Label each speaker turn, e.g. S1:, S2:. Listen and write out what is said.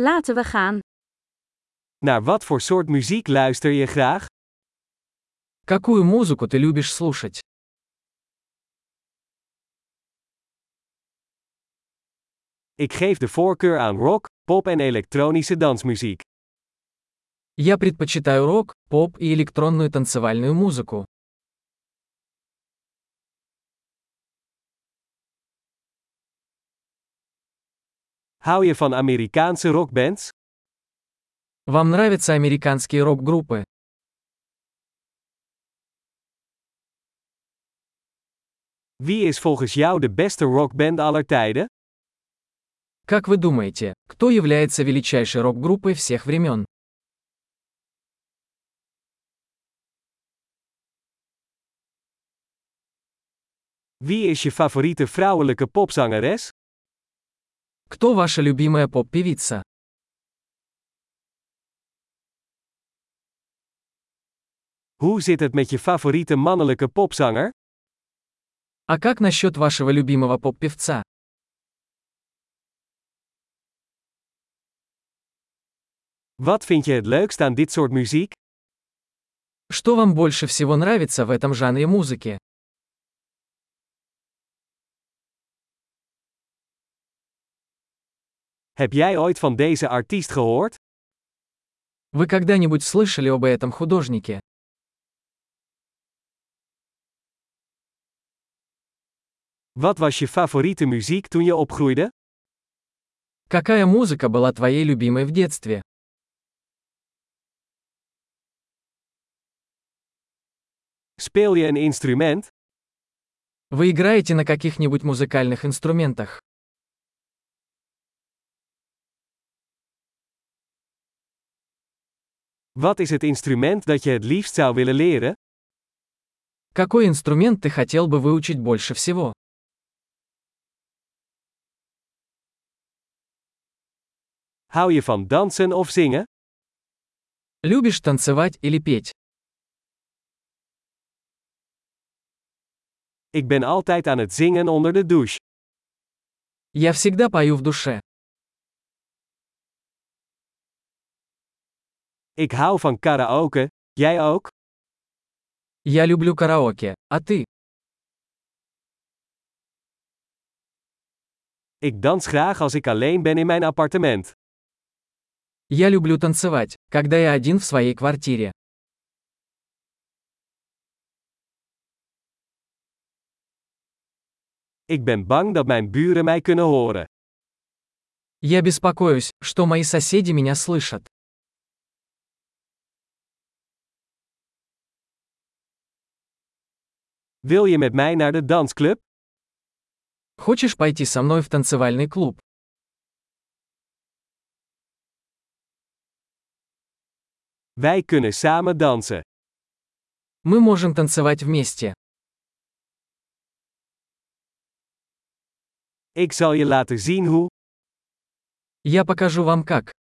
S1: Laten we gaan.
S2: Naar wat voor soort muziek luister je graag?
S3: Какую музыку ты любишь слушать?
S2: Ik geef de voorkeur aan rock, pop en elektronische dansmuziek.
S3: Я предпочитаю рок, поп и электронную танцевальную музыку.
S2: Hou je van Amerikaanse rockbands?
S3: Вам нравятся американские рок-группы?
S2: Wie is volgens jou de beste rockband aller tijden?
S3: Как вы думаете, кто является величайшей рок-группой всех времен?
S2: Wie is je favoriete vrouwelijke popzangeres?
S3: Кто ваша любимая поп-певица?
S2: Hoe zit het met je favoriete mannelijke popzanger?
S3: А как насчет вашего любимого поп-певца?
S2: Wat vind je het leukst aan dit soort muziek?
S3: Что вам больше всего нравится в этом жанре музыки?
S2: Heb jij ooit van deze artiest gehoord?
S3: Вы когда-нибудь слышали об этом художнике?
S2: Wat was je favoriete muziek toen je opgroeide?
S3: Какая музыка была твоей любимой в детстве?
S2: Speel je een instrument?
S3: Вы играете на каких-нибудь музыкальных инструментах?
S2: Wat is het instrument dat je het liefst zou willen leren?
S3: Какой инструмент ты хотел бы выучить больше всего?
S2: Hou je van dansen of zingen?
S3: Любишь танцевать или петь?
S2: Ik ben altijd aan het zingen onder de douche.
S3: Я всегда пою в душе.
S2: Ik hou van karaoke, jij ook?
S3: Я люблю караоке. А ты?
S2: Ik dans graag als ik alleen ben in mijn appartement.
S3: Я люблю танцевать, когда я один в своей квартире.
S2: Ik ben bang dat mijn buren mij kunnen horen.
S3: Я беспокоюсь, что мои соседи меня слышат.
S2: Wil je met mij naar de dansclub?
S3: Хочешь пойти со мной в танцевальный клуб?
S2: Wij kunnen samen dansen.
S3: Мы можем танцевать вместе.
S2: Ik zal je laten zien hoe.
S3: Я покажу вам как.